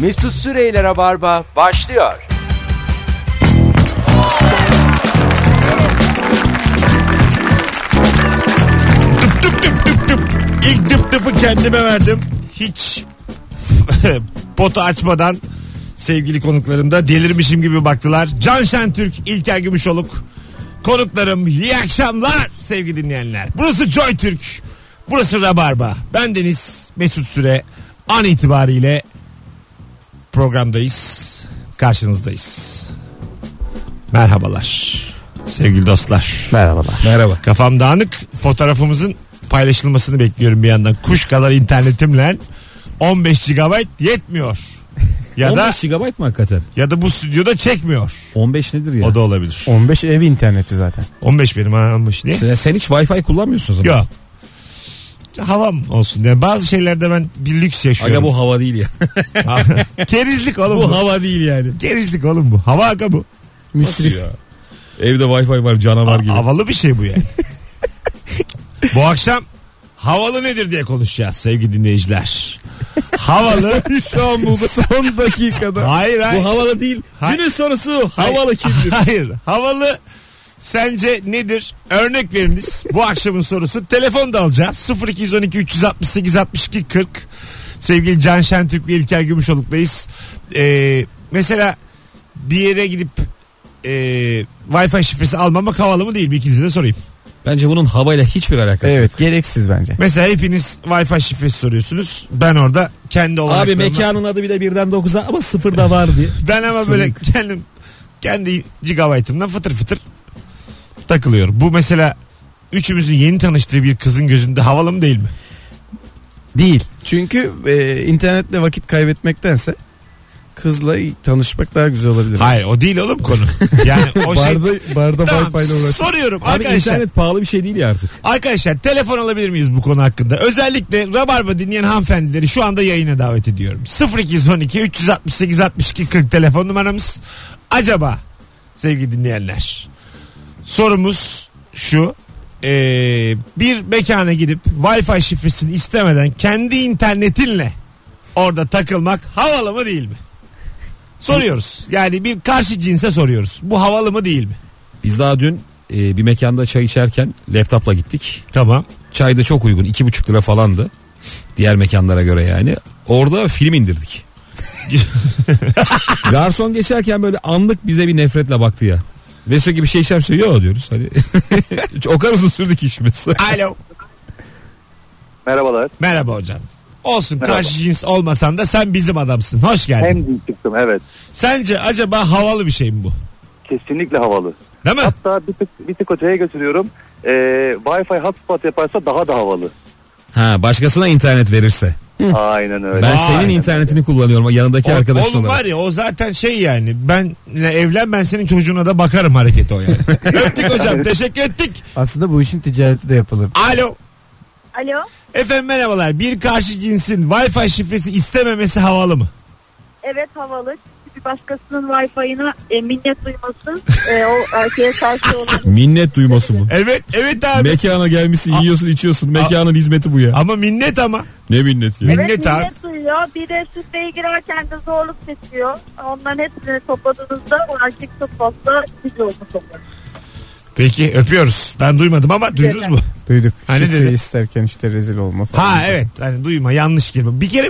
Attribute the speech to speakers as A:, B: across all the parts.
A: Mesut Süreyler'e barba başlıyor.
B: İlk tıp tıpı kendime verdim. Hiç potu açmadan sevgili konuklarım da delirmişim gibi baktılar. Can Şentürk, İlker Gümüşoluk. Konuklarım iyi akşamlar sevgili dinleyenler. Burası Joy Türk. Burası Rabarba. Ben Deniz Mesut Süre. An itibariyle programdayız. Karşınızdayız. Merhabalar. Sevgili dostlar.
C: Merhabalar.
B: Merhaba. Kafam dağınık. Fotoğrafımızın paylaşılmasını bekliyorum bir yandan. Kuş kadar internetimle 15 GB yetmiyor. Ya
D: 15
B: da
D: GB mı hakikaten?
B: ya da bu stüdyoda çekmiyor.
D: 15 nedir ya?
B: O da olabilir.
C: 15 ev interneti zaten.
B: 15 benim ha 15 ne?
D: Sen, sen hiç Wi-Fi kullanmıyorsun o zaman.
B: Yok. Havam olsun. Yani bazı şeylerde ben bir lüks yaşıyorum.
D: Aga bu hava değil ya.
B: Kerizlik oğlum bu.
D: bu hava değil yani.
B: Kerizlik oğlum bu. Hava aga bu.
C: Müsrif.
D: ya? Evde Wi-Fi var canavar
B: Ha-
D: gibi.
B: havalı bir şey bu yani. bu akşam havalı nedir diye konuşacağız sevgili dinleyiciler. Havalı.
C: Son dakikada.
B: hayır hayır.
D: bu havalı değil.
B: Hayır.
D: Günün sorusu
B: Hayır.
D: havalı kimdir?
B: Hayır. Havalı sence nedir? Örnek veriniz. Bu akşamın sorusu. Telefon da alacağız. 0212 368 62 40. Sevgili Can Şentürk ve İlker Gümüşoluk'tayız. Ee, mesela bir yere gidip e, Wi-Fi şifresi almamak havalı mı değil mi? İkinize de sorayım.
D: Bence bunun havayla hiçbir alakası yok.
C: Evet gereksiz bence.
B: Mesela hepiniz Wi-Fi şifresi soruyorsunuz. Ben orada kendi olarak...
D: Abi mekanın adı bir de birden 9'a ama sıfır da var diye.
B: Ben ama böyle kendim kendi gigabaytımdan fıtır fıtır takılıyorum. Bu mesela üçümüzün yeni tanıştığı bir kızın gözünde havalı mı değil mi?
C: Değil. Çünkü e, internetle vakit kaybetmektense kızla tanışmak daha güzel olabilir.
B: Hayır o değil oğlum konu. Yani o şey...
C: barda barda
B: Tamam,
C: Wi-Fi ile uğraş.
B: soruyorum
D: Abi
B: arkadaşlar.
D: internet pahalı bir şey değil ya artık.
B: Arkadaşlar telefon alabilir miyiz bu konu hakkında? Özellikle Rabarba dinleyen hanımefendileri şu anda yayına davet ediyorum. 0212 368 62 40 telefon numaramız. Acaba sevgili dinleyenler sorumuz şu. Ee, bir mekana gidip Wi-Fi şifresini istemeden kendi internetinle orada takılmak havalı mı değil mi? Soruyoruz. Yani bir karşı cinse soruyoruz. Bu havalı mı değil mi?
D: Biz daha dün e, bir mekanda çay içerken laptopla gittik.
B: Tamam.
D: Çay da çok uygun. 2,5 lira falandı. Diğer mekanlara göre yani. Orada film indirdik. Garson geçerken böyle anlık bize bir nefretle baktı ya. Ve sürekli bir şey içer misin? Yok diyoruz. Hani o kadar uzun sürdü ki işimiz.
B: Alo.
E: Merhabalar.
B: Merhaba hocam. Olsun
E: Merhaba.
B: karşı cins olmasan da sen bizim adamsın. Hoş geldin.
E: Hem din çıktım evet.
B: Sence acaba havalı bir şey mi bu?
E: Kesinlikle havalı.
B: Değil mi?
E: Hatta bir tık, bir tık öteye götürüyorum. Ee, Wi-Fi hotspot yaparsa daha da havalı.
D: Ha başkasına internet verirse.
E: Aynen öyle.
D: Ben
B: Vay.
D: senin internetini kullanıyorum yanındaki
B: O-
D: arkadaşın
B: oğlum var
D: olarak.
B: ya o zaten şey yani benle evlen ben senin çocuğuna da bakarım hareketi o yani. Öptük hocam teşekkür ettik.
C: Aslında bu işin ticareti de yapılır.
B: Alo.
F: Alo.
B: Efendim merhabalar bir karşı cinsin wifi şifresi istememesi havalı mı?
F: Evet havalı. Bir başkasının Wi-Fi'ına e, minnet duyması e, o erkeğe karşı olan
D: Minnet duyması mı?
B: Evet evet abi.
D: Mekana gelmişsin yiyorsun içiyorsun. Mekanın hizmeti bu ya.
B: Ama minnet ama.
D: Ne minneti ya.
B: Minnet
F: evet,
B: abi.
F: minnet duyuyor. Bir de sütleye girerken de zorluk çekiyor. Onların hepsini topladığınızda o erkek çok fazla gücü olmuş oluyor.
B: Peki öpüyoruz. Ben duymadım ama duydunuz mu?
C: Duyduk.
B: Ha, ne
D: Hani
C: Şifreyi
B: dedi?
C: isterken işte rezil olma falan.
D: e-
B: Ha evet hani duyma yanlış girme. Bir kere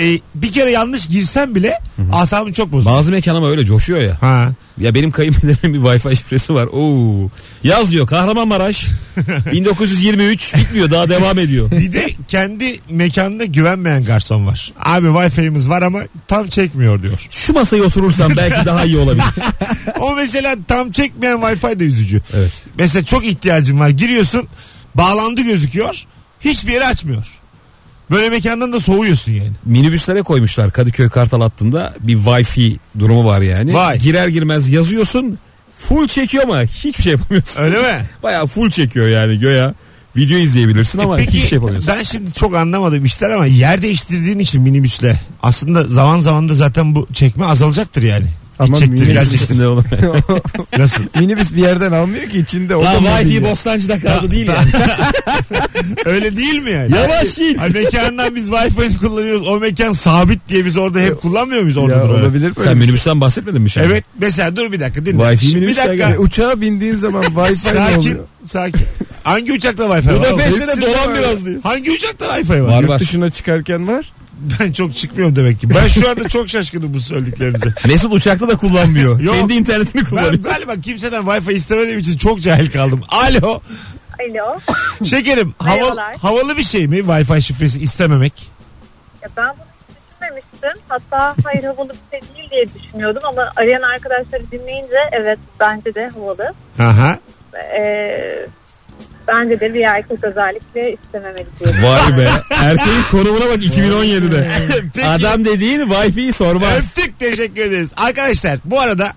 B: e, bir kere yanlış girsem bile asabım çok bozulur.
D: Bazı mekan ama öyle coşuyor ya.
B: Ha.
D: Ya benim kayınpederimin bir Wi-Fi şifresi var. Oo. Yaz diyor Kahramanmaraş 1923 bitmiyor daha devam ediyor.
B: Bir de kendi mekanına güvenmeyen garson var. Abi Wi-Fi'miz var ama tam çekmiyor diyor.
D: Şu masaya oturursam belki daha iyi olabilir.
B: O mesela tam çekmeyen Wi-Fi de üzücü.
D: Evet.
B: Mesela çok ihtiyacın var. Giriyorsun bağlandı gözüküyor. Hiçbir yeri açmıyor. Böyle mekandan da soğuyorsun yani.
D: Minibüslere koymuşlar Kadıköy Kartal hattında bir Wi-Fi durumu var yani.
B: Vay.
D: Girer girmez yazıyorsun full çekiyor ama hiçbir şey yapamıyorsun.
B: Öyle mi?
D: Baya full çekiyor yani göya. Video izleyebilirsin ama
B: E Peki
D: hiçbir şey yapamıyorsun.
B: ben şimdi çok anlamadım işler ama yer değiştirdiğin için minibüsle aslında zaman zaman da zaten bu çekme azalacaktır yani.
C: Ama
B: çektir,
C: minibüs-
B: gel çektir.
D: İçinde olan.
B: Nasıl?
C: minibüs bir yerden almıyor ki içinde. o da
D: Lan
C: mobilya.
D: Wi-Fi Bostancı'da kaldı değil yani.
B: Öyle değil mi yani?
D: Yavaş git.
B: Ay mekandan biz Wi-Fi'ni kullanıyoruz. O mekan sabit diye biz orada hep kullanmıyor muyuz orada?
C: Ya,
B: durarak?
C: olabilir böyle
D: Sen
C: bir şey.
D: minibüsten bahsetmedin mi şimdi?
B: Evet mesela dur bir dakika dinle.
D: Wi-Fi
B: Şimdi bir
D: minibüsler
B: dakika.
D: geldi.
C: Uçağa bindiğin zaman Wi-Fi ne
B: Sakin
C: oluyor?
B: sakin. Hangi uçakta Wi-Fi var?
D: Burada
B: oğlum?
D: 5 sene dolan biraz diye.
B: Hangi uçakta Wi-Fi var?
D: Var.
C: Yurt dışına çıkarken var.
B: Ben çok çıkmıyorum demek ki. Ben şu anda çok şaşkınım bu söylediklerinize.
D: Mesut uçakta da kullanmıyor.
B: Yok.
D: Kendi internetini
B: Ben
D: kullanıyor.
B: galiba kimseden Wi-Fi istemediğim için çok cahil kaldım. Alo.
F: Alo.
B: Şekerim hava,
F: Merhabalar.
B: havalı bir şey mi Wi-Fi şifresi istememek?
F: Ya ben bunu hiç düşünmemiştim. Hatta hayır havalı bir şey değil diye düşünüyordum ama arayan arkadaşları dinleyince evet bence de havalı.
B: Aha.
F: Ee, bence de bir erkek özellikle istememeli diyorum.
D: Vay be. Erkeğin konumuna bak 2017'de.
B: Peki.
D: Adam dediğin Wi-Fi'yi sormaz.
B: Öptük teşekkür ederiz. Arkadaşlar bu arada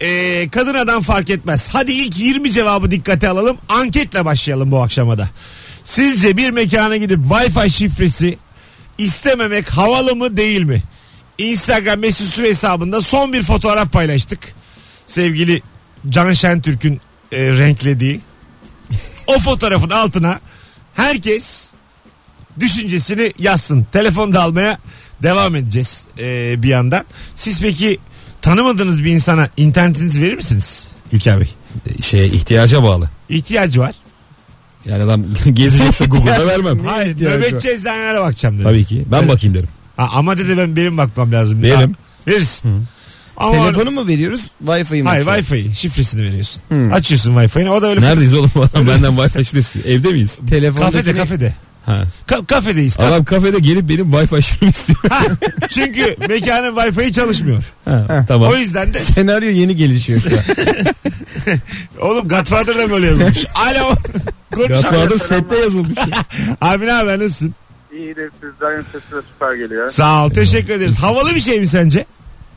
B: e, kadın adam fark etmez. Hadi ilk 20 cevabı dikkate alalım. Anketle başlayalım bu akşamada. Sizce bir mekana gidip Wi-Fi şifresi istememek havalı mı değil mi? Instagram mesut süre hesabında son bir fotoğraf paylaştık. Sevgili Can Şentürk'ün e, renklediği. O fotoğrafın altına herkes düşüncesini yazsın. Telefon da almaya devam edeceğiz e, bir yandan. Siz peki tanımadığınız bir insana internetinizi verir misiniz İlker Bey?
D: Şeye Şey, ihtiyaca bağlı.
B: İhtiyacı var.
D: Yani adam gezecekse Google'da vermem.
B: Hayır
C: ihtiyacı
B: nöbetçi eczanelere bakacağım dedi.
D: Tabii ki. Ben
B: Evet.
D: bakayım derim.
B: Ha, ama dedi ben benim bakmam lazım.
D: Verelim.
B: Ha, verirsin. Ama
C: Telefonu mu veriyoruz? Wi-Fi mi?
B: Hayır
C: açıyoruz?
B: Wi-Fi şifresini veriyorsun. Açıyorsun Wi-Fi'ni o da öyle
D: Neredeyiz oğlum? Adam benden Wi-Fi şifresi. Evde miyiz?
C: Telefondakini-
B: kafede kafede.
D: Ha.
B: Ka- kafedeyiz. Ka-
D: Adam kafede gelip benim Wi-Fi şifremi istiyor.
B: Ha, çünkü mekanın Wi-Fi'yi çalışmıyor.
D: Ha, tamam.
B: O yüzden de
C: Senaryo yeni gelişiyor şu an.
B: oğlum Godfather'da böyle yazılmış. Alo. Konuşalım.
D: Godfather sette yazılmış.
B: Abi ne haber nasılsın?
E: İyidir sizden sesi de süper geliyor.
B: Sağ ol teşekkür ederiz. Havalı bir şey mi sence?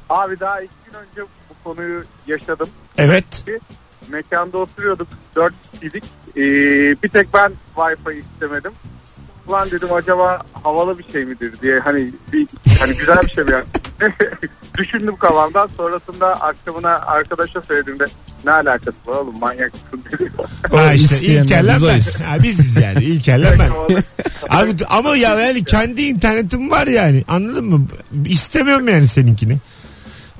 E: Abi daha iki gün önce bu konuyu yaşadım.
B: Evet.
E: Mekanda oturuyorduk. Dört kişiydik. Ee, bir tek ben Wi-Fi istemedim. Ulan dedim acaba havalı bir şey midir diye hani bir, hani güzel bir şey mi yani? Düşündüm kafamdan sonrasında akşamına arkadaşa söylediğimde ne alakası var oğlum manyak mısın dedi.
B: Ha işte
C: isteyenler,
B: İlker'le
D: biz
B: ben.
D: oyuz.
B: Ha, biziz yani İlker'le ben.
E: şey
B: Abi, ama ya yani kendi internetim var yani anladın mı? İstemiyorum yani seninkini.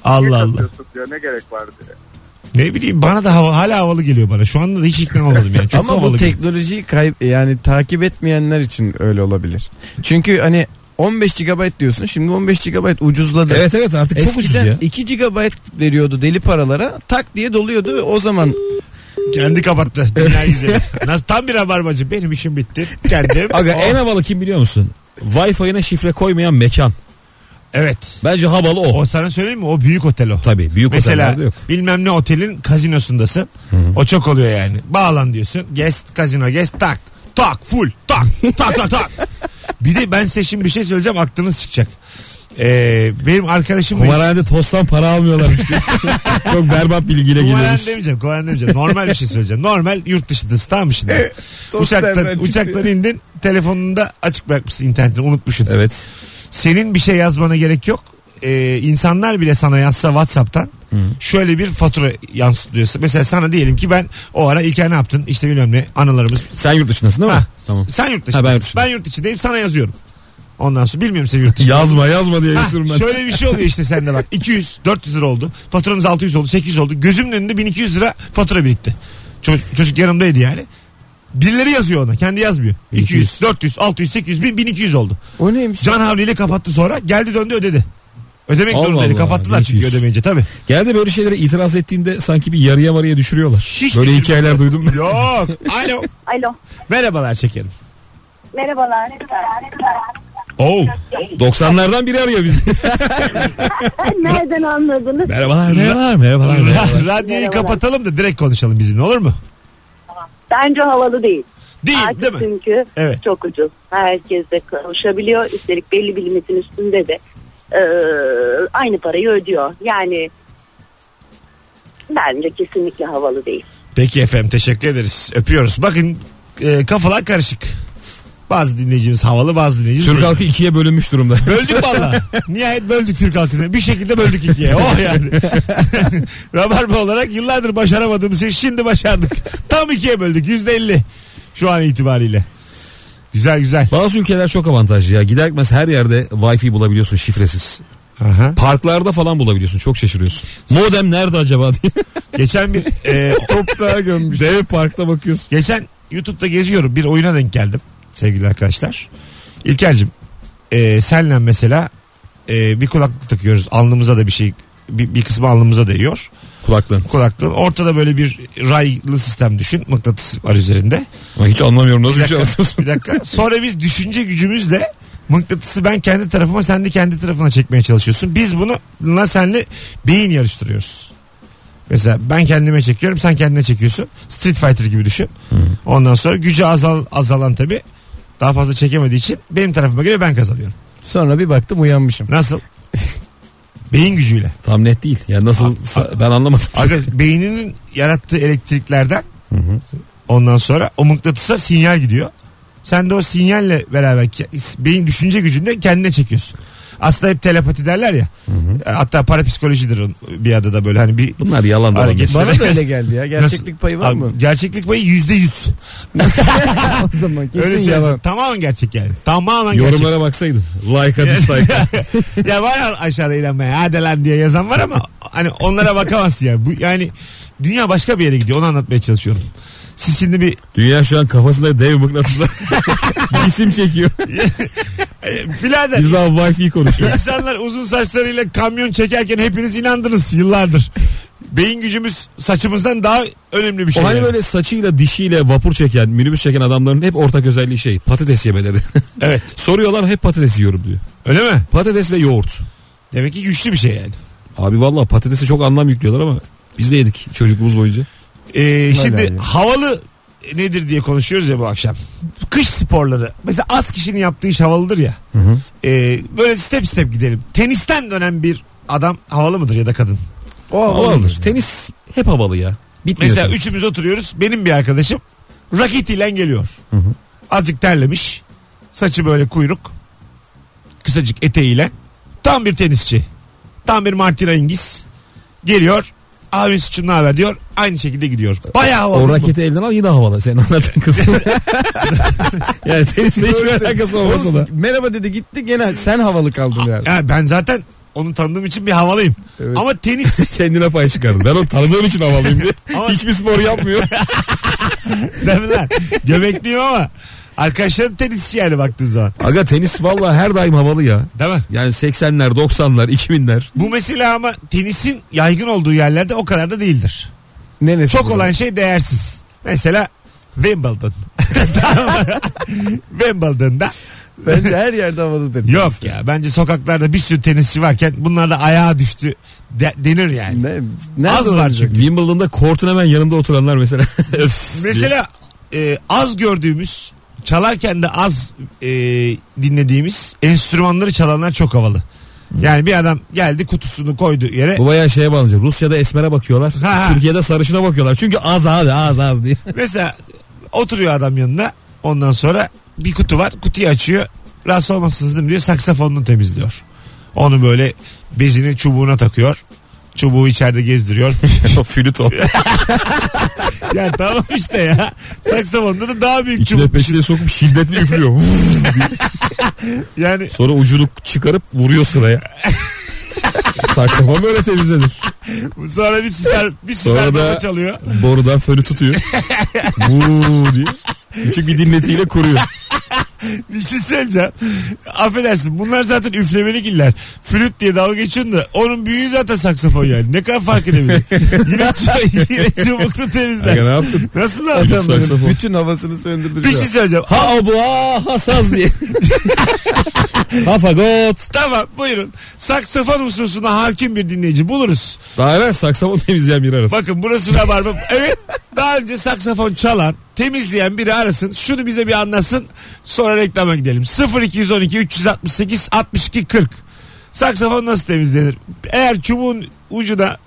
B: Allah Allah.
E: Diyor, ne gerek var diye.
B: Ne bileyim bana da hava, hala havalı geliyor bana. Şu anda da hiç ikna olmadım yani. Çok
C: Ama
B: havalı
C: bu
B: geliyor.
C: teknolojiyi kayıp yani takip etmeyenler için öyle olabilir. Çünkü hani 15 GB diyorsun şimdi 15 GB ucuzladı.
D: evet evet artık çok ucuz
C: Eskiden
D: ya.
C: 2 GB veriyordu deli paralara tak diye doluyordu ve o zaman
B: Kendi kapattı. Dünya güzeli. Nasıl, tam bir rabarbacı. Benim işim bitti. Kendim.
D: Aga
B: Oh.
D: en havalı kim biliyor musun? Wi-Fi'ne şifre koymayan mekan.
B: Evet.
D: Bence havalı o.
B: O sana söyleyeyim mi? O büyük otel o.
D: Tabii büyük
B: Mesela
D: otellerde yok.
B: bilmem ne otelin kazinosundasın. O çok oluyor yani. Bağlan diyorsun. Guest kazino guest tak. Tak full tak tak tak tak. Bir de ben size şimdi bir şey söyleyeceğim aklınız çıkacak. Ee, benim arkadaşım
D: Kumarhanede tosttan para almıyorlarmış. Çok berbat bilgiyle
B: Kumarhan
D: geliyormuş.
B: demeyeceğim, kumarhan demeyeceğim. Normal bir şey söyleyeceğim. Normal yurt dışındasın tamam mı şimdi?
C: tost nereden
B: uçaktan,
C: çıktı?
B: uçaktan indin, telefonunu da açık bırakmışsın internetini unutmuşsun.
D: Evet.
B: Senin bir şey yazmana gerek yok. Ee, insanlar bile sana yazsa Whatsapp'tan şöyle bir fatura yansıtıyorsa. Mesela sana diyelim ki ben o ara İlker ne yaptın? İşte bilmem ne anılarımız.
D: Sen yurt dışındasın değil mi?
B: Ha,
D: Tamam.
B: Sen yurt
D: Ha, ben
B: dışındasın.
D: yurt
B: ben,
D: dışındayım.
B: yurt içindeyim sana yazıyorum. Ondan sonra bilmiyorum sen yurt dışı.
D: Yazma yazma diye
B: Ha,
D: yazıyorum ben.
B: şöyle bir şey oluyor işte sende bak. 200, 400 lira oldu. Faturanız 600 oldu, 800 oldu. Gözümün önünde 1200 lira fatura birikti. Çocuk, çocuk yanımdaydı yani. Birileri yazıyor ona. Kendi yazmıyor. 200, 400, 600, 800, 1000, 1200 oldu.
C: o neymiş?
B: Can havliyle kapattı sonra. Geldi döndü ödedi. Ödemek
D: Allah
B: zorundaydı.
D: Allah,
B: Kapattılar çünkü
D: 1200.
B: ödemeyince tabii.
D: Genelde böyle şeylere itiraz ettiğinde sanki bir yarıya marıya düşürüyorlar.
B: Hiç
D: böyle
B: düşürmüyor.
D: hikayeler duydum. ben.
B: Yok. Alo.
F: Alo.
B: Merhabalar şekerim.
F: Merhabalar. Ne güzel.
D: Oh.
B: Oo.
D: 90'lardan biri arıyor bizi.
F: Nereden anladınız?
D: merhabalar merhabalar merhabalar. merhabalar.
B: Ra- Radyoyu
F: Merhabalar.
B: kapatalım da direkt konuşalım bizimle olur mu?
F: Bence havalı değil.
B: Değil
F: Artık
B: değil mi?
F: Çünkü
B: Evet.
F: çok ucuz. Herkes de konuşabiliyor. Üstelik belli bir limitin üstünde de e, aynı parayı ödüyor. Yani bence kesinlikle havalı değil.
B: Peki efendim teşekkür ederiz. Öpüyoruz. Bakın e, kafalar karışık. Bazı dinleyicimiz havalı bazı dinleyicimiz
D: Türk
B: değil.
D: halkı ikiye bölünmüş durumda.
B: Böldük valla. Nihayet böldük Türk halkını. Bir şekilde böldük ikiye. Oh yani. Rabarba olarak yıllardır başaramadığımız şey şimdi başardık. Tam ikiye böldük. Yüzde elli. Şu an itibariyle. Güzel güzel.
D: Bazı ülkeler çok avantajlı ya. Gider gitmez her yerde wifi bulabiliyorsun şifresiz.
B: Aha.
D: Parklarda falan bulabiliyorsun. Çok şaşırıyorsun. Modem nerede acaba diye.
B: Geçen bir e,
D: Toprağa gömmüş. Dev parkta bakıyorsun.
B: Geçen YouTube'da geziyorum. Bir oyuna denk geldim sevgili arkadaşlar. İlker'cim e, senle mesela e, bir kulaklık takıyoruz. Alnımıza da bir şey bir, bir kısmı alnımıza değiyor.
D: Kulaklığın.
B: Kulaklığın ortada böyle bir raylı sistem düşün. Mıknatıs var üzerinde.
D: Ama hiç anlamıyorum nasıl
B: Bir
D: bir, şey
B: dakika.
D: anlatıyorsun.
B: Bir dakika. Sonra biz düşünce gücümüzle mıknatısı ben kendi tarafıma sen de kendi tarafına çekmeye çalışıyorsun. Biz bununla senle beyin yarıştırıyoruz. Mesela ben kendime çekiyorum sen kendine çekiyorsun. Street Fighter gibi düşün. Ondan sonra gücü azal, azalan tabi daha fazla çekemediği için benim tarafıma göre ben kazanıyorum.
C: Sonra bir baktım uyanmışım.
B: Nasıl? Beyin gücüyle.
D: Tam net değil. Ya nasıl ben anlamadım.
B: Arkadaş beyninin yarattığı elektriklerden ondan sonra o mıknatısa sinyal gidiyor. Sen de o sinyalle beraber ke- beyin düşünce gücünde kendine çekiyorsun. Aslında hep telepati derler ya. Hatta parapsikolojidir onun bir adı da böyle hani bir
D: Bunlar yalan dolan.
B: Hareket-
D: Bana-
C: Bana da öyle geldi ya. Gerçeklik payı var
B: Abi,
C: mı?
B: gerçeklik payı yüzde yüz.
C: o zaman kesin
B: Öyle şey.
C: yalan.
B: Tamamen gerçek yani. Tamamen gerçek.
D: Yorumlara baksaydın. Like'a dislike'a.
B: ya var ya aşağıda eğlenmeye hadi lan diye yazan var ama hani onlara bakamazsın yani. Bu, yani dünya başka bir yere gidiyor onu anlatmaya çalışıyorum. Siz şimdi bir
D: Dünya şu an kafasında dev mıknatıslar. İsim çekiyor.
B: e, birader
D: Biz daha wifi konuşuyoruz.
B: İnsanlar uzun saçlarıyla kamyon çekerken hepiniz inandınız yıllardır. Beyin gücümüz saçımızdan daha önemli bir şey.
D: O hani
B: yani.
D: böyle saçıyla dişiyle vapur çeken minibüs çeken adamların hep ortak özelliği şey patates yemeleri.
B: Evet.
D: Soruyorlar hep patates yiyorum diyor.
B: Öyle mi?
D: Patates ve yoğurt.
B: Demek ki güçlü bir şey yani.
D: Abi valla patatese çok anlam yüklüyorlar ama biz de yedik çocukluğumuz boyunca.
B: Ee, şimdi
C: yani.
B: havalı nedir diye konuşuyoruz ya bu akşam. Kış sporları. Mesela az kişinin yaptığı iş havalıdır ya. Ee, böyle step step gidelim. Tenisten dönen bir adam havalı mıdır ya da kadın?
C: O havalıdır.
D: Havalıdır. Tenis hep havalı ya. Bitmiyor.
B: Mesela
D: tenis.
B: üçümüz oturuyoruz. Benim bir arkadaşım raketiyle geliyor. Azıcık terlemiş. Saçı böyle kuyruk. Kısacık eteğiyle. Tam bir tenisçi. Tam bir Martina Hingis. Geliyor. Abi suçum ne haber diyor. Aynı şekilde gidiyor. Bayağı havalı.
D: O
B: bu.
D: raketi elden al yine havalı. Sen anlattın kısmı. yani tenisle hiçbir alakası olmasa da.
C: Oğlum, Merhaba dedi gitti gene sen havalı kaldın yani.
B: Ya ben zaten onu tanıdığım için bir havalıyım.
C: Evet.
B: Ama tenis
D: Kendine pay çıkardın. Ben onu tanıdığım için havalıyım diye.
B: Ama-
D: Hiçbir spor yapmıyor.
B: Değil mi lan? Göbekliyim ama arkadaşlarım tenisçi yani baktığın zaman.
D: Aga tenis valla her daim havalı ya.
B: Değil mi?
D: Yani 80'ler, 90'lar, 2000'ler.
B: Bu mesela ama tenisin yaygın olduğu yerlerde o kadar da değildir.
C: Neresi
B: Çok
C: bu?
B: olan şey değersiz. Mesela Wimbledon. Tamam mı? Wimbledon'da
C: Bence her yerde havalıdır.
B: yok ya. Bence sokaklarda bir sürü tenisçi varken bunlar da ayağa düştü de- denir yani.
C: Ne, nerede
B: Az var
C: olacak?
B: çünkü.
D: Wimbledon'da kortun hemen yanında oturanlar mesela. Öf.
B: Mesela e, az gördüğümüz çalarken de az e, dinlediğimiz enstrümanları çalanlar çok havalı. Yani bir adam geldi kutusunu koydu yere.
D: Bu bayağı şeye bağlanacak. Rusya'da esmere bakıyorlar.
B: Ha.
D: Türkiye'de sarışına bakıyorlar. Çünkü az abi az az diye.
B: Mesela oturuyor adam yanına. Ondan sonra bir kutu var. Kutuyu açıyor. Rahatsız olmasınız değil mi diyor. Saksafonunu temizliyor. Onu böyle bezini çubuğuna takıyor. Çubuğu içeride gezdiriyor.
D: o flüt o.
B: ya tamam işte ya. Saksafonda da daha büyük
D: İçine
B: çubuk.
D: peşine sokup şiddetli üflüyor. Vuv diye.
B: Yani
D: Sonra ucunu çıkarıp vuruyor sıraya. Saksafon böyle temizlenir.
B: sonra bir süper bir süper
D: Sonra da-
B: baba çalıyor.
D: Borudan fönü tutuyor. Vuu diye. Küçük bir dinletiyle kuruyor.
B: Bir şey söyleyeceğim. Affedersin bunlar zaten üflemelik iller. Flüt diye dalga geçiyorsun da onun büyüğü zaten saksafon yani. Ne kadar fark edebilir? yine, çu- yine çubukla
D: Aga ne
B: temizler.
D: yaptın?
B: Nasıl lan?
D: Çocuk
C: Adamların
D: saksafon.
C: bütün havasını söndürdü.
B: Bir
C: şu
B: şey
C: an.
B: söyleyeceğim.
D: Ha bu ha ha saz diye. ha fagot.
B: Tamam buyurun. Saksafon hususuna hakim bir dinleyici buluruz.
D: Daha evvel saksafon temizleyen biri arasın.
B: Bakın burası rabarba. evet daha önce saksafon çalan temizleyen biri arasın. Şunu bize bir anlasın. Sonra reklama gidelim. 0212 368 62 40. Saksafon nasıl temizlenir? Eğer çubuğun ucuna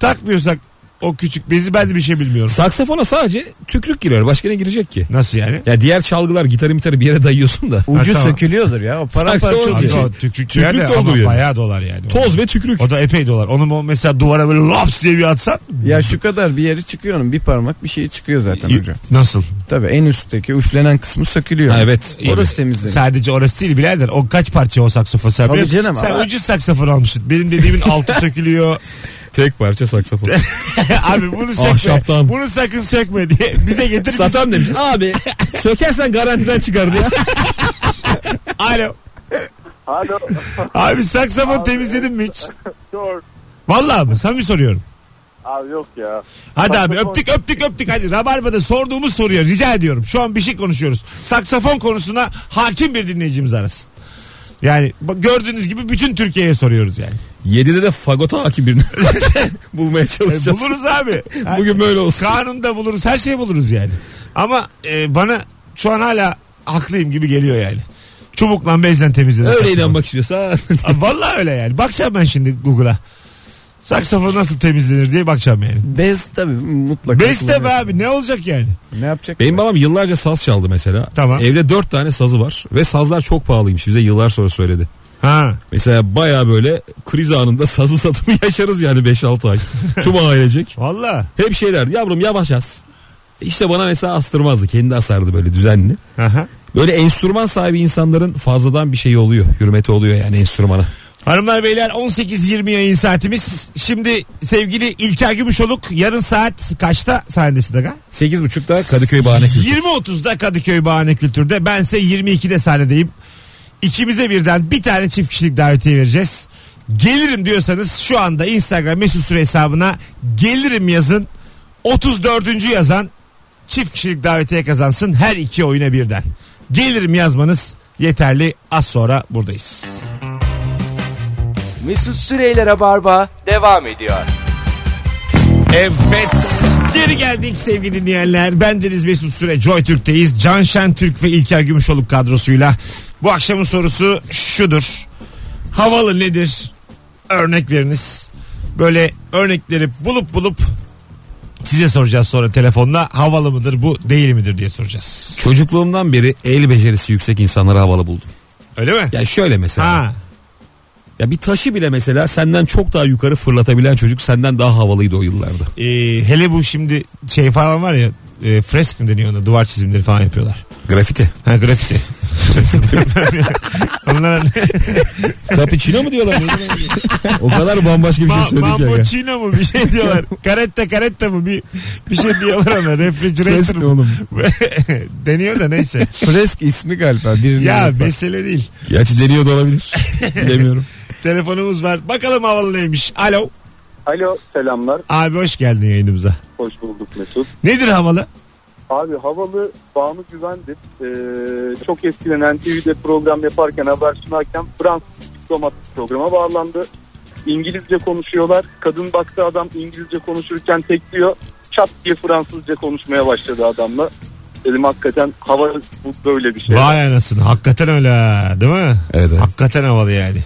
B: takmıyorsak o küçük bezi ben de bir şey bilmiyorum.
D: Saksafona sadece tükrük giriyor. Başka ne girecek ki?
B: Nasıl yani?
D: Ya diğer çalgılar gitarı mitarı bir yere dayıyorsun da.
C: Ucu
B: Ha, tamam.
C: sökülüyordur ya. O
D: Saksı
C: paramparça
D: oldu
C: oluyor.
B: Abi
D: şey.
B: o tükürük diyor
D: Tükürük
B: de
D: de
B: ama
D: oluyor.
B: bayağı dolar yani.
D: Toz ve tükürük.
B: O da epey dolar. Onu mu mesela duvara böyle laps diye bir atsan.
C: Ya şu kadar bir yeri çıkıyor onun. Bir parmak bir şey çıkıyor zaten hocam.
B: Nasıl?
C: Tabii en üstteki üflenen kısmı sökülüyor.
D: Ha, evet.
C: Orası temizleniyor.
B: Sadece orası değil birader. O kaç parça o saksafon sen
C: Tabii
B: biliyor musun?
C: canım
B: Sen
C: ama-
B: ucuz saksafon almışsın. Benim dediğimin altı sökülüyor.
D: Tek parça saksafon.
B: Abi
C: Ah,
B: bunu sökme.
D: Ahşaptan.
B: Bunu sakın sökme diye bize getir. biz-
D: Satan demiş. Abi sökersen garantiden çıkardı ya.
B: Alo.
E: Alo.
B: Abi saksafon temizledin mi hiç?
E: Yok.
B: Vallahi mı? Samimi soruyorum.
E: Abi yok ya.
B: Hadi abi
E: Saksafon-
B: öptük öptük öptük. Hadi Rabarba'da sorduğumuz soruya rica ediyorum. Şu an bir şey konuşuyoruz. Saksafon konusuna hakim bir dinleyicimiz arasın. Yani bak- gördüğünüz gibi bütün Türkiye'ye soruyoruz yani.
D: 7'de de fagota hakim birini bulmaya
B: E,
D: çalışacağız.
B: buluruz abi.
D: Bugün böyle olsun.
B: Kanunda buluruz. Her şeyi buluruz yani. Ama e, bana şu an hala haklıyım gibi geliyor yani. Çubukla bezden temizlenir.
D: Öyle
B: saksafon.
D: inanmak istiyorsa.
B: Aa, Vallahi öyle yani. Bakacağım ben şimdi Google'a. Saksafon nasıl temizlenir diye bakacağım yani.
C: Bez tabii mutlaka.
B: Bez de be
C: kullanıyor.
B: abi ne olacak yani?
C: Ne yapacak?
D: Benim babam yıllarca saz çaldı mesela.
B: Tamam.
D: Evde 4 tane sazı var ve sazlar çok pahalıymış bize yıllar sonra söyledi.
B: Ha.
D: Mesela baya böyle kriz anında sazı satımı yaşarız yani 5-6 ay. Tüm ailecek.
B: Valla.
D: Hep şeyler yavrum yavaş as. İşte bana mesela astırmazdı. Kendi asardı böyle düzenli.
B: Aha.
D: Böyle enstrüman sahibi insanların fazladan bir şey oluyor. Hürmeti oluyor yani enstrümana.
B: Hanımlar beyler 18.20 yayın saatimiz. Şimdi sevgili İlker Gümüşoluk yarın saat kaçta sahnesi aga?
D: 8.30'da Kadıköy Bahane Kültür.
B: 20.30'da Kadıköy Bahane Kültür'de. Bense 22'de sahnedeyim. İkimize birden bir tane çift kişilik davetiye vereceğiz. Gelirim diyorsanız şu anda Instagram mesut süre hesabına gelirim yazın. 34. yazan çift kişilik davetiye kazansın her iki oyuna birden. Gelirim yazmanız yeterli. Az sonra buradayız.
A: Mesut Süreyler'e barba devam ediyor.
B: Evet. Geri geldik sevgili dinleyenler. Ben Deniz Mesut Süre Joy Türk'teyiz. Can Şen Türk ve İlker Gümüşoluk kadrosuyla. Bu akşamın sorusu şudur. Havalı nedir? Örnek veriniz. Böyle örnekleri bulup bulup size soracağız sonra telefonla. Havalı mıdır bu değil midir diye soracağız.
D: Çocukluğumdan beri el becerisi yüksek insanları havalı buldum.
B: Öyle mi?
D: Yani şöyle mesela.
B: Ha.
D: Ya bir taşı bile mesela senden çok daha yukarı fırlatabilen çocuk senden daha havalıydı o yıllarda.
B: Ee, hele bu şimdi şey falan var ya e, fresk mi deniyor ona duvar çizimleri falan yapıyorlar.
D: Grafiti.
B: Ha grafiti. Onlara ne?
D: Cappuccino mu diyorlar? o kadar bambaşka bir şey
B: Ba-
D: söyledik ya.
B: Bambucino mu bir şey diyorlar. karetta karetta mı bir bir şey diyorlar ona. Refrigerator
D: Fresk ne
B: mu?
D: oğlum?
B: Deniyor da neyse.
C: Fresk ismi galiba. Birinin
B: ya
C: adı.
B: mesele değil.
D: Gerçi deniyor da olabilir. Bilemiyorum.
B: Telefonumuz var. Bakalım havalı neymiş. Alo.
E: Alo selamlar.
B: Abi hoş geldin yayınımıza.
E: Hoş bulduk Mesut.
B: Nedir havalı?
E: Abi havalı Banu Güvendir. Ee, çok eskiden NTV'de program yaparken haber sunarken Fransız diplomat programa bağlandı. İngilizce konuşuyorlar. Kadın baktı adam İngilizce konuşurken tekliyor. Çat diye Fransızca konuşmaya başladı adamla. Dedim hakikaten hava bu böyle bir şey.
B: Vay anasını. Hakikaten öyle ha. Değil mi?
D: Evet, evet.
B: Hakikaten havalı yani.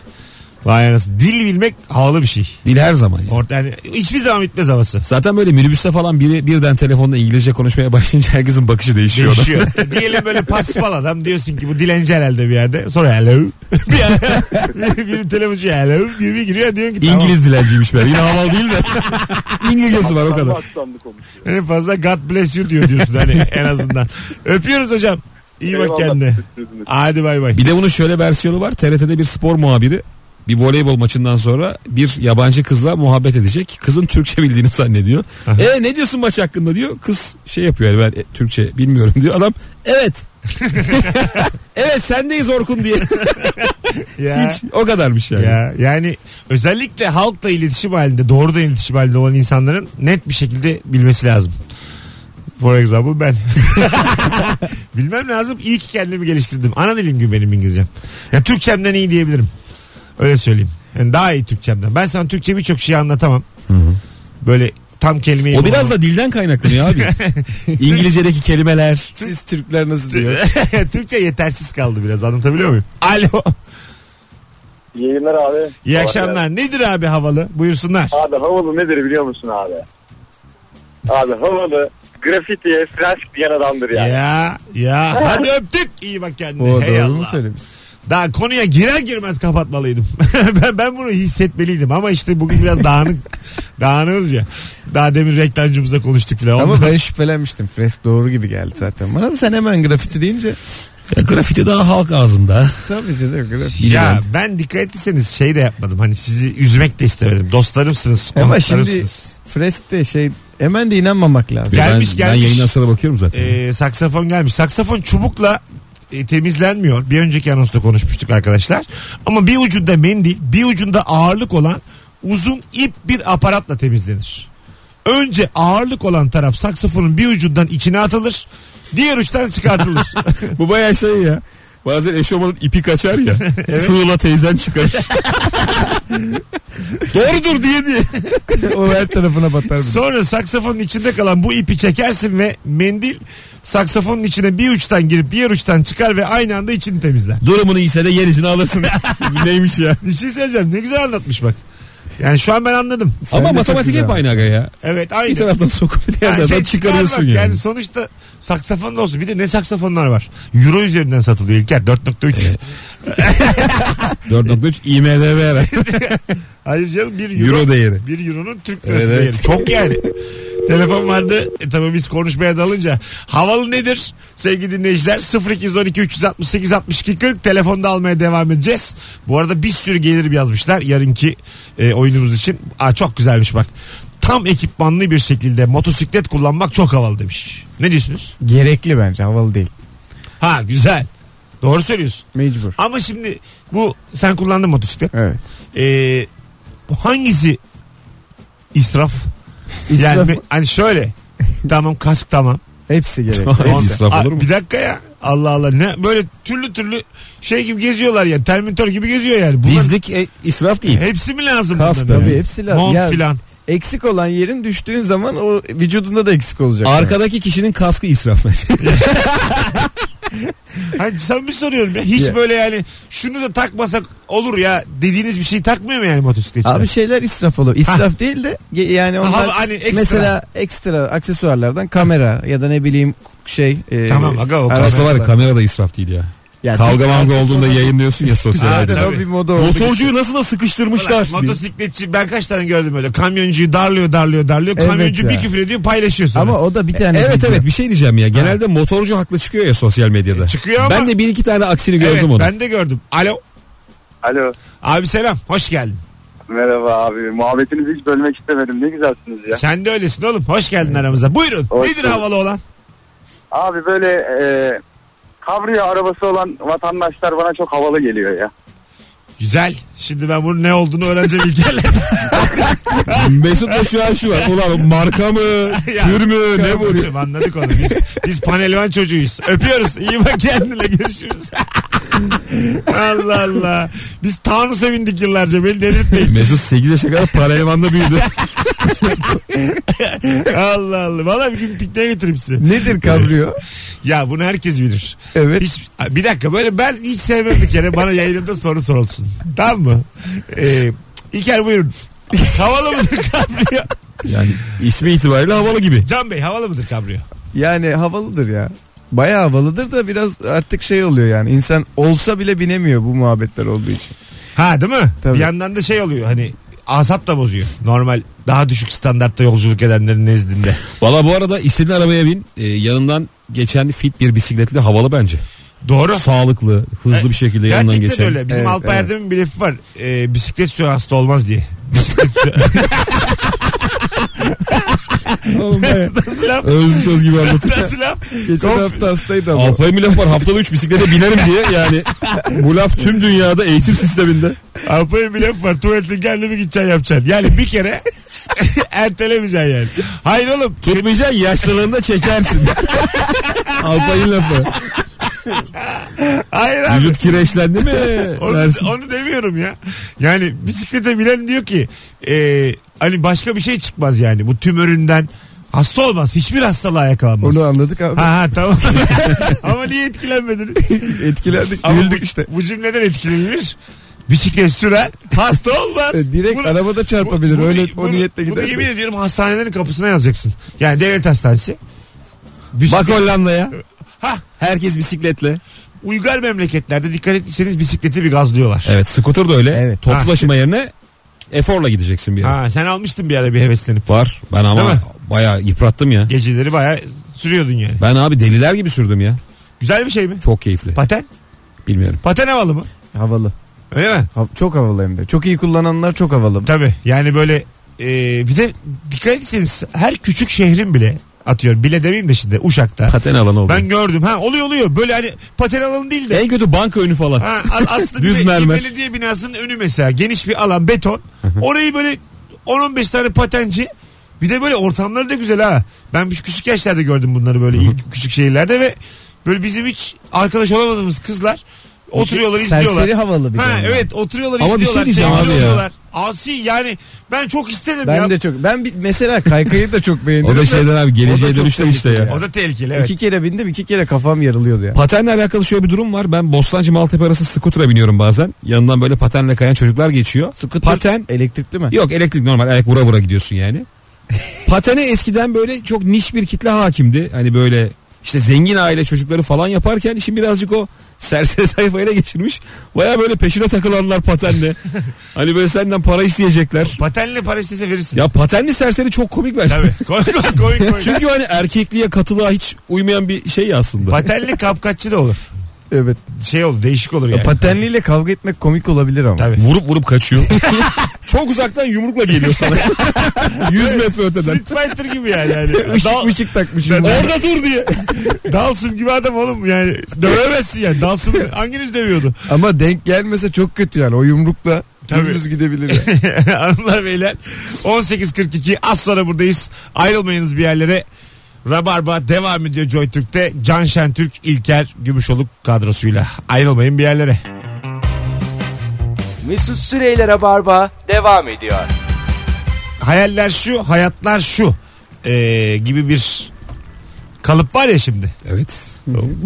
B: Vay anasını. Dil bilmek havalı bir şey.
D: Dil her zaman ya.
B: Orta, yani hiçbir zaman bitmez havası.
D: Zaten böyle minibüste falan biri birden telefonla İngilizce konuşmaya başlayınca herkesin bakışı değişiyor. adam.
B: Değişiyor. Diyelim böyle paspal adam diyorsun ki bu dilenci herhalde bir yerde. Sonra hello. Bir ara biri telefoncu hello diyor bir giriyor diyorsun ki tamam.
D: İngiliz dilenciymiş ben. Yine havalı değil de. İngilizcesi var o
E: Aksanlı
D: kadar.
E: aksanlı konuşuyor.
B: En fazla God bless you diyor diyorsun hani en azından. Öpüyoruz hocam. İyi bak
E: Eyvallah,
B: kendine.
E: sürpriz
B: Hadi bay bay.
D: Bir de bunun şöyle versiyonu var. TRT'de bir spor muhabiri bir voleybol maçından sonra bir yabancı kızla muhabbet edecek. Kızın Türkçe bildiğini zannediyor.
B: Aha.
D: E ne diyorsun maç hakkında diyor. Kız şey yapıyor yani ben e, Türkçe bilmiyorum diyor. Adam evet. evet sendeyiz Orkun diye.
B: Ya.
D: Hiç o kadarmış yani.
B: Ya yani özellikle halkla iletişim halinde doğrudan iletişim halinde olan insanların net bir şekilde bilmesi lazım. For example ben. Bilmem lazım. İyi ki kendimi geliştirdim. Ana dilim gibi benim İngilizcem. Ya Türkçemden iyi diyebilirim. Öyle söyleyeyim. Yani daha iyi Türkçemden. Ben sana Türkçe birçok şeyi anlatamam. Böyle tam kelimeyi
D: O biraz da dilden kaynaklanıyor abi. İngilizce'deki kelimeler.
C: Siz Türkler nasıl diyor?
B: Türkçe yetersiz kaldı biraz. Anlatabiliyor muyum? Alo.
E: İyi yayınlar abi.
B: İyi akşamlar. Nedir abi havalı? Buyursunlar.
E: Abi havalı nedir biliyor musun abi? Abi havalı grafitiye fresk diyen adamdır yani.
B: Ya ya hadi öptük. İyi bak kendine.
C: O
B: Hey
C: doğru mu
B: Allah.
C: söylemiş?
B: Daha konuya girer girmez kapatmalıydım. ben, ben bunu hissetmeliydim ama işte bugün biraz dağınık dağınığız ya. Daha demin reklamcımızla konuştuk falan.
C: Ama ben şüphelenmiştim. Fresk doğru gibi geldi zaten. Bana da sen hemen grafiti deyince
D: Ya, grafiti daha halk ağzında.
C: tabii canım grafiti.
B: ya ben dikkat etseniz şey de yapmadım. Hani sizi üzmek de istemedim. Dostlarımsınız,
C: Ama şimdi
B: konuklarımsınız.
C: fresk de şey hemen de inanmamak lazım.
B: Ya-
D: ben,
B: Gelmiş,
D: Ben
B: gelmiş.
D: yayından sonra bakıyorum zaten.
B: Ee, saksafon gelmiş. Saksafon çubukla e, temizlenmiyor. Bir önceki anonsta konuşmuştuk arkadaşlar. Ama bir ucunda mendil, bir ucunda ağırlık olan uzun ip bir aparatla temizlenir. Önce ağırlık olan taraf saksafonun bir ucundan içine atılır. Diğer uçtan çıkartılır.
D: Bu bayağı şey ya. Bazen eşofmanın ipi kaçar ya. Tuğla teyzen çıkar. Doğrudur diye diye.
C: o her tarafına batar. bir de.
B: Sonra saksafonun içinde kalan bu ipi çekersin ve mendil saksafonun içine bir uçtan girip diğer uçtan çıkar ve aynı anda içini temizler.
D: Durumunu iyiyse de yenisini alırsın. Neymiş ya?
B: Bir şey söyleyeceğim ne güzel anlatmış bak. Yani şu an ben anladım.
C: de
D: Ama
C: çok
D: matematik
C: güzel.
D: hep aynı aga ya.
B: Evet aynı.
D: Bir taraftan sokup bir
B: Yani
D: yerden
B: şey
D: çıkarıyorsun
B: çıkar bak.
D: yani.
B: Yani sonuçta saksafon da olsun. Bir de ne saksafonlar var. Euro üzerinden satılıyor İlker 4.3.
D: 4.3 IMDB herhalde.
B: Hayır canım 1 euro,
D: Euro değeri.
B: bir euronun Türk lirası
D: Evet,
B: değeri.
D: evet.
B: Çok yani. Telefon vardı. E tabii biz konuşmaya dalınca. Havalı nedir? Sevgili dinleyiciler 0212 368 62 40 telefonda almaya devam edeceğiz. Bu arada bir sürü gelir yazmışlar yarınki e, oyunumuz için. Aa, çok güzelmiş bak. Tam ekipmanlı bir şekilde motosiklet kullanmak çok havalı demiş. Ne diyorsunuz?
C: Gerekli bence havalı değil.
B: Ha güzel. Doğru söylüyorsun.
C: Mecbur.
B: Ama şimdi bu sen kullandın motosiklet.
C: Evet.
B: Ee, bu hangisi israf?
C: İsraf,
B: Yani bir- hani şöyle. tamam kask tamam.
C: hepsi gerekli.
D: Hepsi
C: Hepsi.
D: israf
B: Aa,
D: olur mu?
B: Bir dakika ya. Allah Allah. Ne böyle türlü türlü şey gibi geziyorlar ya. Terminator gibi geziyor yani. Bunlar,
D: Dizlik e, israf değil.
B: hepsi mi lazım?
C: Kask
B: bunların
C: tabii,
B: yani?
C: hepsi lazım.
B: Mont
C: Ya-
B: filan.
C: Eksik olan yerin düştüğün zaman o vücudunda da eksik olacak.
D: Arkadaki kişinin kaskı israf bence.
B: Hani sen bir soruyorum ya. Hiç
C: Ya.
B: böyle yani şunu da takmasak olur ya dediğiniz bir şey takmıyor mu yani motosikletçiler?
C: Abi şeyler israf olur. İsraf değil de ge- yani
B: Ha,
C: onlar
B: hani ekstra.
C: mesela ekstra aksesuarlardan kamera ya da ne bileyim şey e,
B: Tamam, aga o
C: arabalar.
D: Aslında var ya kamera da israf değil ya.
C: Ya
D: Kavga
C: tabii
D: manga
C: artık
D: olduğunda
C: o-
D: yayınlıyorsun ya sosyal
B: Aynen.
D: medyada.
C: Zaten o
B: Tabii.
C: bir moda oldu.
D: Motorcuyu nasıl da sıkıştırmışlar.
B: Ulan Motosikletçi ben kaç tane gördüm öyle. Kamyoncuyu darlıyor darlıyor darlıyor.
C: Evet
B: Kamyoncu
C: ya.
B: bir küfür ediyor paylaşıyor sonra.
C: Ama o da bir tane
D: Evet
C: video.
D: evet bir şey diyeceğim ya. Genelde motorcu haklı çıkıyor ya sosyal medyada.
B: E, Çıkıyor ama-
D: Ben de bir iki tane aksini gördüm
B: evet,
D: onu.
B: Ben de gördüm. Alo.
E: Alo.
B: Abi selam. Hoş geldin.
E: Merhaba abi. Muhabbetinizi hiç bölmek istemedim. Ne güzelsiniz ya.
B: Sen de öylesin oğlum. Hoş geldin aramıza. Buyurun.
E: Hoş
B: Nedir
E: bulduk.
B: havalı olan?
E: Abi böyle e, kavriya arabası olan vatandaşlar bana çok havalı geliyor ya.
B: Güzel. Şimdi ben bunun ne olduğunu öğreneceğim İlker'le.
D: Mesut da şu an şu var. Ulan marka mı?
B: Ya,
D: tür mü? Ne bu?
B: Kardeşim, Anladık onu. Biz, biz panelvan çocuğuyuz. Öpüyoruz. İyi bak kendine. Görüşürüz. Allah Allah. Biz Tanrı bindik yıllarca. Beni delirtmeyin.
D: Mesut 8 yaşa kadar paralelmanda büyüdü.
B: Allah Allah. Valla bir gün pikniğe götüreyim sizi.
C: Nedir kabrio?
B: Ya bunu herkes bilir.
C: evet.
B: Hiç, bir dakika böyle ben hiç sevmem bir kere bana yayınında soru sorulsun. Tamam mı? Ee, İlker buyurun. Havalı mıdır kabriyo?
D: Yani ismi itibariyle havalı gibi.
B: Can Bey havalı mıdır kabriyo?
C: Yani havalıdır ya. Bayağı havalıdır da biraz artık şey oluyor yani. İnsan olsa bile binemiyor bu muhabbetler olduğu için.
B: Ha değil mi?
C: Tabii.
B: Bir yandan da şey oluyor hani asap da bozuyor. Normal daha düşük standartta yolculuk edenlerin nezdinde.
D: Valla bu arada istediğin arabaya bin. Ee, yanından geçen fit bir bisikletli havalı bence.
B: Doğru.
D: Sağlıklı, hızlı
B: E,
D: bir şekilde yanından
B: Gerçekten
D: geçen.
B: öyle. Bizim
C: Evet,
B: Alpay Erdem'in bir lafi var. Ee, bisiklet süren hasta olmaz diye. Bisiklet süren...
D: Oğlum be.
B: Nasıl laf?
D: Özlü söz gibi anlatıyor.
B: Nasıl laf?
C: Geçen hafta hastaydı ama.
D: Alpay'ın bir lafı var haftada 3 bisiklete binerim diye yani bu laf tüm dünyada eğitim sisteminde.
B: Avrupa'ya bir laf var. Tuvaletin kendimi gideceksin yapacaksın. Yani bir kere ertelemeyeceksin yani. Hayır oğlum.
D: Tutmayacaksın yaşlılığında çekersin. Alpay'ın lafı.
B: Hayır abi.
D: Vücut kireçlendi mi?
B: Onu,
D: Dersin.
B: onu demiyorum ya. Yani bisiklete binen diyor ki e, hani başka bir şey çıkmaz yani. Bu tümöründen hasta olmaz. Hiçbir hastalığa yakalanmaz.
C: Onu anladık abi.
B: Ha ha tamam. Ama niye etkilenmediniz?
C: Etkilendik,
B: Ama
C: güldük
B: bu,
C: işte.
B: Bu cümleden etkilenilir. bisiklet süren hasta olmaz.
C: E, direkt
B: Bunu-
C: arabada çarpabilir. Öyle o niyetle
B: bunu yemin
C: gidersen.
B: ediyorum hastanelerin kapısına yazacaksın. Yani devlet hastanesi.
D: Bak Hollanda'ya.
B: Ha
D: Herkes bisikletle.
B: uygar memleketlerde dikkat ettiyseniz bisikleti bir gazlıyorlar.
D: Evet skuter da öyle.
C: Evet.
D: Toplu taşıma yerine eforla gideceksin bir yere.
B: Ha sen almıştın bir ara bir heveslenip.
D: Var. Ben
B: Değil
D: ama
B: mi?
D: bayağı yıprattım ya.
B: Geceleri bayağı sürüyordun yani.
D: Ben abi deliler gibi sürdüm ya.
B: Güzel bir şey mi?
D: Çok keyifli.
B: Paten?
D: Bilmiyorum.
B: Paten havalı mı?
C: Havalı.
B: Öyle mi?
C: Ha- Çok havalı hem de. Çok iyi kullananlar çok havalı.
B: Tabii yani böyle e, bir de dikkat etseniz her küçük şehrin bile atıyor. Bile demeyeyim de şimdi Uşak'ta.
D: Paten alanı oldu.
B: Ben gördüm. Ha oluyor oluyor. Böyle hani paten alanı değil de.
D: En kötü banka önü falan.
B: Ha, a- aslında
D: Düz
B: bir, bir
D: mermer.
B: belediye binasının önü mesela geniş bir alan beton. Orayı böyle 10-15 tane patenci bir de böyle ortamları da güzel ha. Ben bir küçük yaşlarda gördüm bunları böyle ilk küçük şehirlerde ve böyle bizim hiç arkadaş olamadığımız kızlar oturuyorlar izliyorlar.
C: Serseri havalı bir
B: Ha
C: de.
B: evet oturuyorlar
D: Ama bir şey
B: izliyorlar.
D: diyeceğim
B: sevgili
D: abi ya.
B: oluyorlar. Asi yani ben çok isterim
C: Ben
B: ya.
C: de çok. Ben bir, mesela kaykayı da çok beğeniyorum.
D: O da
C: da- şey-
D: şeyden abi
C: o
D: geleceğe
C: da çok
D: dönüşler işte ya.
C: tehlikeli
B: O da tehlikeli evet.
C: İki kere bindim iki kere kafam yarılıyordu ya.
D: Patenle alakalı şöyle bir durum var. Ben Bostancı Maltepe arası skutura biniyorum bazen. Yanından böyle patenle kayan çocuklar geçiyor. Paten
C: Elektrikli mi?
D: yok elektrik normal ayak vura vura gidiyorsun yani. Patene eskiden böyle çok niş bir kitle hakimdi. Hani böyle işte zengin aile çocukları falan yaparken şimdi birazcık o serseri sayfaya ele geçirmiş. Baya böyle peşine takılanlar patenle. hani böyle senden para isteyecekler.
B: Patenle para istese verirsin.
D: Ya patenli serseri çok komik bence.
B: Tabii. Koy koy koy. koy.
D: Çünkü hani erkekliğe katılığa hiç uymayan bir şey ya aslında.
B: Patenli kapkaççı da olur.
C: Evet. E,
B: Şey olur değişik olur yani.
C: Patenliyle kavga etmek komik olabilir ama.
B: Tabii.
D: Vurup vurup kaçıyor. Çok uzaktan yumrukla geliyor sana. 100 metre öteden.
B: Street Fighter gibi yani. yani.
C: Işık
B: Dal,
C: mışık takmış.
D: Orada dur diye.
B: Dalsın gibi adam oğlum yani. Dövemezsin yani. Dalsın hanginiz dövüyordu?
C: Ama denk gelmese çok kötü yani. O yumrukla
B: Tabii.
C: dümdüz gidebilir. ya.
B: Hanımlar beyler 18.42 az sonra buradayız. Ayrılmayınız bir yerlere. Rabarba devam ediyor JoyTürk'te. Can Şentürk, İlker Gümüşoluk kadrosuyla. Ayrılmayın bir yerlere.
A: Mesut Süreyler'e barba devam ediyor.
B: Hayaller şu, hayatlar şu ee, gibi bir kalıp var ya şimdi.
D: Evet.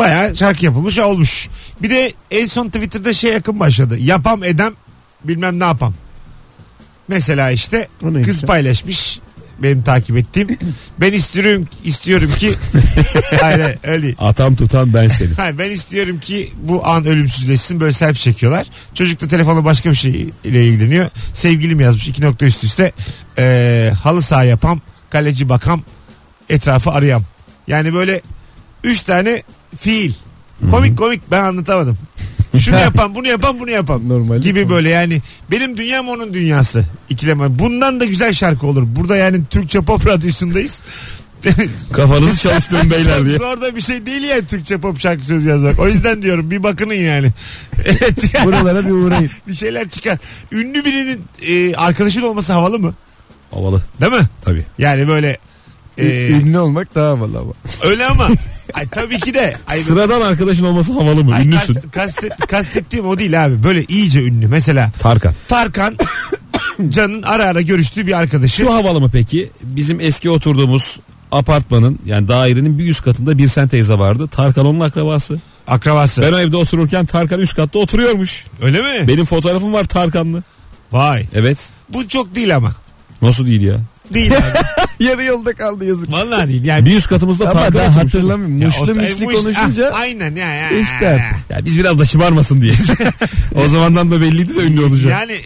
B: Bayağı şarkı yapılmış olmuş. Bir de en son Twitter'da şey yakın başladı. Yapam edem bilmem ne yapam. Mesela işte
C: O neymiş
B: kız
C: ya?
B: paylaşmış benim takip ettiğim. ben istiyorum istiyorum ki hayır, hayır, öyle değil.
D: Atam tutan ben seni.
B: Hayır, ben istiyorum ki bu an ölümsüzleşsin böyle selfie çekiyorlar. Çocuk da telefonla başka bir şey ile ilgileniyor. Sevgilim yazmış iki nokta üst üste. Ee, halı saha yapam, kaleci bakam, etrafı arayam. Yani böyle üç tane fiil. Komik komik ben anlatamadım. Şunu yapan bunu yapan bunu yapan
C: Normal.
B: gibi böyle yani benim dünyam onun dünyası ikileme. Bundan da güzel şarkı olur. Burada yani Türkçe pop radyosundayız.
D: Kafanızı çalıştırın beyler diye.
B: Çok zor da bir şey değil yani Türkçe pop şarkı sözü yazmak. O yüzden diyorum bir bakının yani.
C: Buralara bir uğrayın.
B: bir şeyler çıkar. Ünlü birinin e, arkadaşın olması havalı mı?
D: Havalı
B: Değil mi?
D: tabii.
B: Yani böyle e,
C: Ünlü olmak daha havalı ama.
B: öyle ama ay, tabii ki de ay,
D: Sıradan arkadaşın olması havalı mı?
B: ay,
D: Ünlüsün.
B: kast- kastet- kastettiğim o değil abi. Böyle iyice ünlü. Mesela
D: Tarkan.
B: Tarkan Can'ın ara ara görüştüğü bir arkadaşı.
D: Şu havalı mı peki? Bizim eski oturduğumuz apartmanın yani dairenin bir üst katında bir sen teyze vardı. Tarkan onun akrabası.
B: akrabası.
D: Ben o evde otururken Tarkan üst katta oturuyormuş.
B: Öyle mi?
D: Benim fotoğrafım var Tarkan'lı.
B: Vay.
D: Evet.
B: Bu çok değil ama.
D: Nasıl değil ya?
B: Değil abi.
C: Yarı yolda kaldı yazık.
B: Vallahi değil. Yani
D: Bir üst katımızda
C: Ama
D: Tarkan
C: ben
D: oturmuş.
C: hatırlamıyorum.
B: Ya
C: Muşlu
B: o- e,
C: müşlü
B: bu iş-
C: konuşunca
B: Ah, aynen ya. ya.
C: İşte.
D: Ya biz biraz da şımarmasın diye. o zamandan da belliydi de ünlü olacak.
B: Yani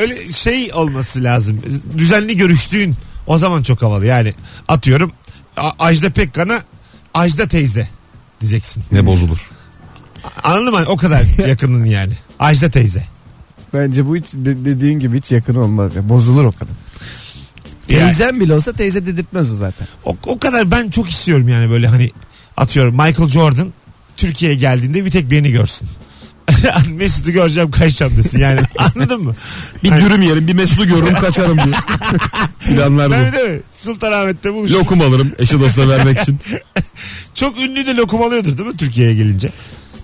B: öyle şey olması lazım. Düzenli görüştüğün o zaman çok havalı. Yani atıyorum A- Ajda Pekkan'a Ajda teyze diyeceksin.
D: Ne bozulur.
B: Anladın mı? O kadar yakının yani. Ajda teyze. ah.
C: bence bu hiç de- dediğin gibi hiç yakın olmaz. ya. Bozulur o kadar.
B: Yani
C: Teyzem bile olsa teyze dedirtmez o zaten.
B: o, o kadar ben çok istiyorum yani böyle hani atıyorum Michael Jordan Türkiye'ye geldiğinde bir tek beni görsün. Mesut'u göreceğim kaçacağım desin yani anladın mı?
D: Bir
B: Hani-
D: dürüm yerim bir Mesut'u görürüm kaçarım diye. Planlar
B: Tabii
D: bu.
B: değil mi? Sultanahmet'te bu.
D: Lokum alırım eşe dosta vermek için.
B: Çok ünlü de lokum alıyordur değil mi Türkiye'ye gelince?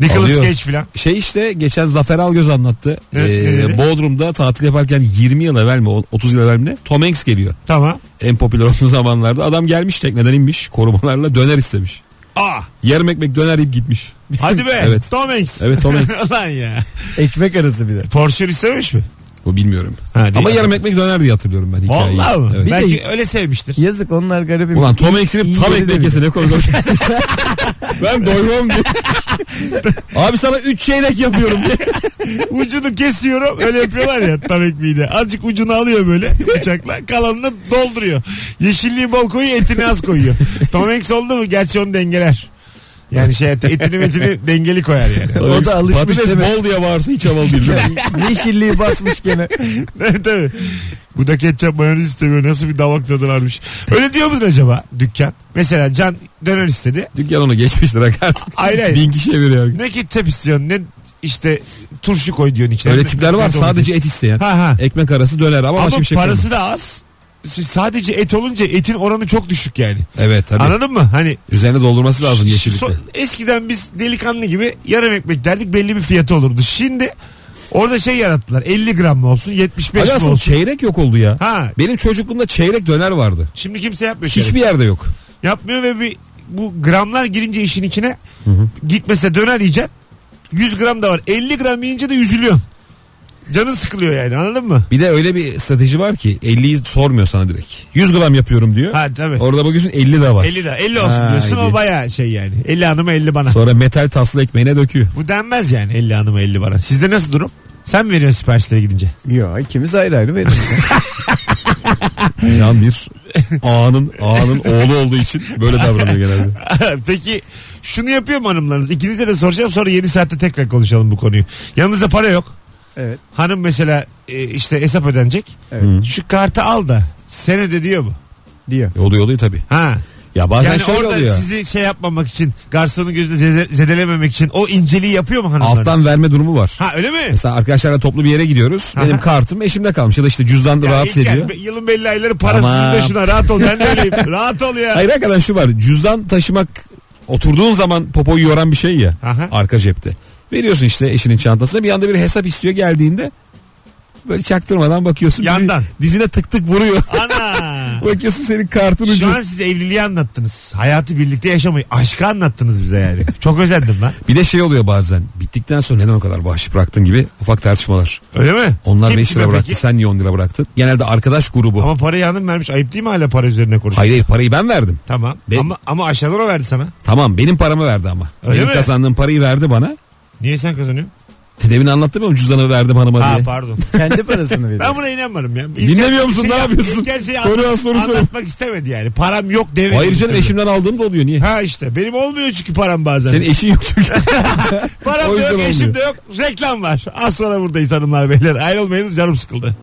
B: Nicolas
D: Alıyor.
B: Cage filan.
D: Şey işte geçen Zafer Algöz anlattı.
B: Ne-
D: Ee,
B: ne dedi?
D: Bodrum'da tatil yaparken 20 yıl evvel mi 30 yıl evvel mi ne? Tom Hanks geliyor.
B: Tamam.
D: En popüler olduğu zamanlarda. Adam gelmiş tekneden inmiş korumalarla döner istemiş.
B: Aa.
D: Yarım ekmek döner yiyip gitmiş.
B: Hadi be.
D: Evet.
B: Tom Hanks.
D: Evet, Tom Hanks.
B: Lan ya.
C: Ekmek arası bir de.
B: Porsiyon istememiş mi?
D: O bilmiyorum.
B: Ha, değil
D: Ama
B: mi?
D: yarım ekmek döner diye hatırlıyorum ben hikayeyi.
B: Vallahi mı?
D: Evet.
B: Belki öyle sevmiştir.
C: Yazık onlar garibim.
D: Ulan Tom Hanks'ini
C: iyi
D: tam
C: yeri de
D: ekmek yese ne korkunç. ben doymam diye. Abi sana 3 çeyrek yapıyorum diye.
B: Ucunu kesiyorum öyle yapıyorlar ya tam ekmeği de. Azıcık ucunu alıyor böyle bıçakla kalanını dolduruyor. Yeşilliği bol koyuyor etini az koyuyor. Tom Hanks oldu mu gerçi onu dengeler. Yani şey etini metini dengeli koyar yani.
C: O da alışmış
D: Patates
C: demek.
D: bol diye bağırsa hiç havalı değil.
C: Yeşilliği basmış gene.
B: Tabii tabii. Bu da ketçap mayonez istemiyor. Nasıl bir damak tadı varmış. Öyle diyor mudur acaba dükkan? Mesela Can döner istedi.
D: Dükkan onu geçmiştir hak artık.
B: Hayır, hayır.
D: Bin kişiye veriyor.
B: Ne ketçap istiyorsun ne işte turşu koy diyorsun içine.
D: Öyle tipler
B: Ne
D: var
B: domates.
D: sadece et isteyen.
B: Ha ha.
D: Ekmek arası döner ama,
B: Ama
D: başka bir şey
B: parası
D: kalmadı.
B: da az. Siz Sadece et olunca etin oranı çok düşük yani.
D: Evet tabii.
B: Anladın mı? Hani
D: Üzerine doldurması lazım yeşillikle.
B: so- eskiden biz delikanlı gibi yarım ekmek derdik belli bir fiyatı olurdu. Şimdi orada şey yarattılar. 50 gram mı olsun 75
D: Hadi
B: mi
D: aslında
B: olsun?
D: çeyrek yok oldu ya.
B: Ha.
D: Benim çocukluğumda çeyrek döner vardı.
B: Şimdi kimse yapmıyor. şöyle.
D: Hiçbir yerde yok.
B: yapmıyor ve bir bu gramlar girince işin içine gitmese döner yiyeceksin. 100 gram da var. 50 gram yiyince de üzülüyorsun. Canın sıkılıyor yani anladın mı?
D: Bir de öyle bir strateji var ki 50'yi sormuyor sana direkt. 100 gram yapıyorum diyor.
B: Ha tabii.
D: Orada bakıyorsun 50 daha var.
B: 50 da 50 olsun
D: Ha,
B: diyorsun o
D: iyi.
B: baya şey yani. 50 hanıma 50 bana.
D: Sonra metal taslı ekmeğine döküyor.
B: Bu denmez yani 50 hanıma 50 bana. Sizde nasıl durum? Sen mi veriyorsun siparişlere gidince?
C: Yok ikimiz ayrı ayrı veririz.
D: Can bir ağanın, ağanın oğlu olduğu için böyle davranıyor genelde.
B: Peki şunu yapıyor mu hanımlarınız? İkinize de soracağım sonra yeni saatte tekrar konuşalım bu konuyu. Yanınızda para yok.
C: evet.
B: Hanım mesela e, işte hesap ödenecek.
C: Evet.
B: Şu kartı al da sen öde diyor mu?
C: Diyor.
D: E, Oluyor oluyor tabii.
B: Ha.
D: Ya bazen
B: yani
D: şöyle
B: orada
D: oluyor.
B: sizi şey yapmamak için garsonun gözünü zede- zedelememek için o inceliği yapıyor mu hanımlar?
D: Alttan verme durumu var.
B: Ha öyle mi?
D: Mesela arkadaşlarla toplu bir yere gidiyoruz. Benim
B: Aha.
D: kartım eşimde kalmış ya da işte cüzdan da
B: Ya
D: rahatsız
B: İlker,
D: ediyor.
B: be- Yılın belli ayları parasız
D: Tamam.
B: başına rahat ol ben de öyleyim. rahat ol ya.
D: Hayır hakikaten şu var. Cüzdan taşımak oturduğun zaman popoyu yoran bir şey ya.
B: Aha.
D: Arka cepte. Veriyorsun işte eşinin çantasına bir anda bir hesap istiyor geldiğinde böyle çaktırmadan bakıyorsun. Bizi
B: Yandan.
D: Dizine tık tık vuruyor.
B: Ana.
D: bakıyorsun senin kartın ucu.
B: Şu an siz evliliği anlattınız. Hayatı birlikte yaşamayı, aşkı anlattınız bize yani. Çok özendim ben.
D: Bir de şey oluyor bazen. Bittikten sonra neden o kadar bahşiş bıraktın gibi ufak tartışmalar.
B: Öyle mi?
D: Onlar
B: Kim
D: 5
B: kime
D: lira bıraktı
B: peki?
D: sen niye 10 lira bıraktın? Genelde arkadaş grubu.
B: Ama parayı hanım vermiş. Ayıp değil mi hala para üzerine konuşuyor?
D: Hayır hayır parayı ben verdim.
B: Tamam.
D: Ben-
B: Ama, ama aşağıdan o verdi sana.
D: Tamam benim paramı verdi ama.
B: Öyle
D: benim
B: mi?
D: kazandığım parayı verdi bana.
B: Niye sen kazanıyorsun?
D: E, Demin anlattım ya cüzdanı verdim hanıma
B: Ha
D: diye.
B: pardon.
C: Kendi parasını veriyor.
B: Ben buna inanmadım ya. İlker-
D: Dinlemiyor musun
B: şey-
D: ne yapıyorsun?
B: İlker şeyi
D: Soru al,
B: anlat-
D: soru sor.
B: anlatmak istemedi yani. Param yok demedim.
D: Hayır
B: bir
D: canım
B: türlü.
D: eşimden aldığım da oluyor niye?
B: Ha işte benim olmuyor çünkü param bazen.
D: Senin eşin yok çünkü.
B: param da
D: o yüzden
B: yok eşim
D: olmuyor.
B: de yok. Reklam var. Az sonra buradayız hanımlar beyler. Ayrılmayınız canım sıkıldı.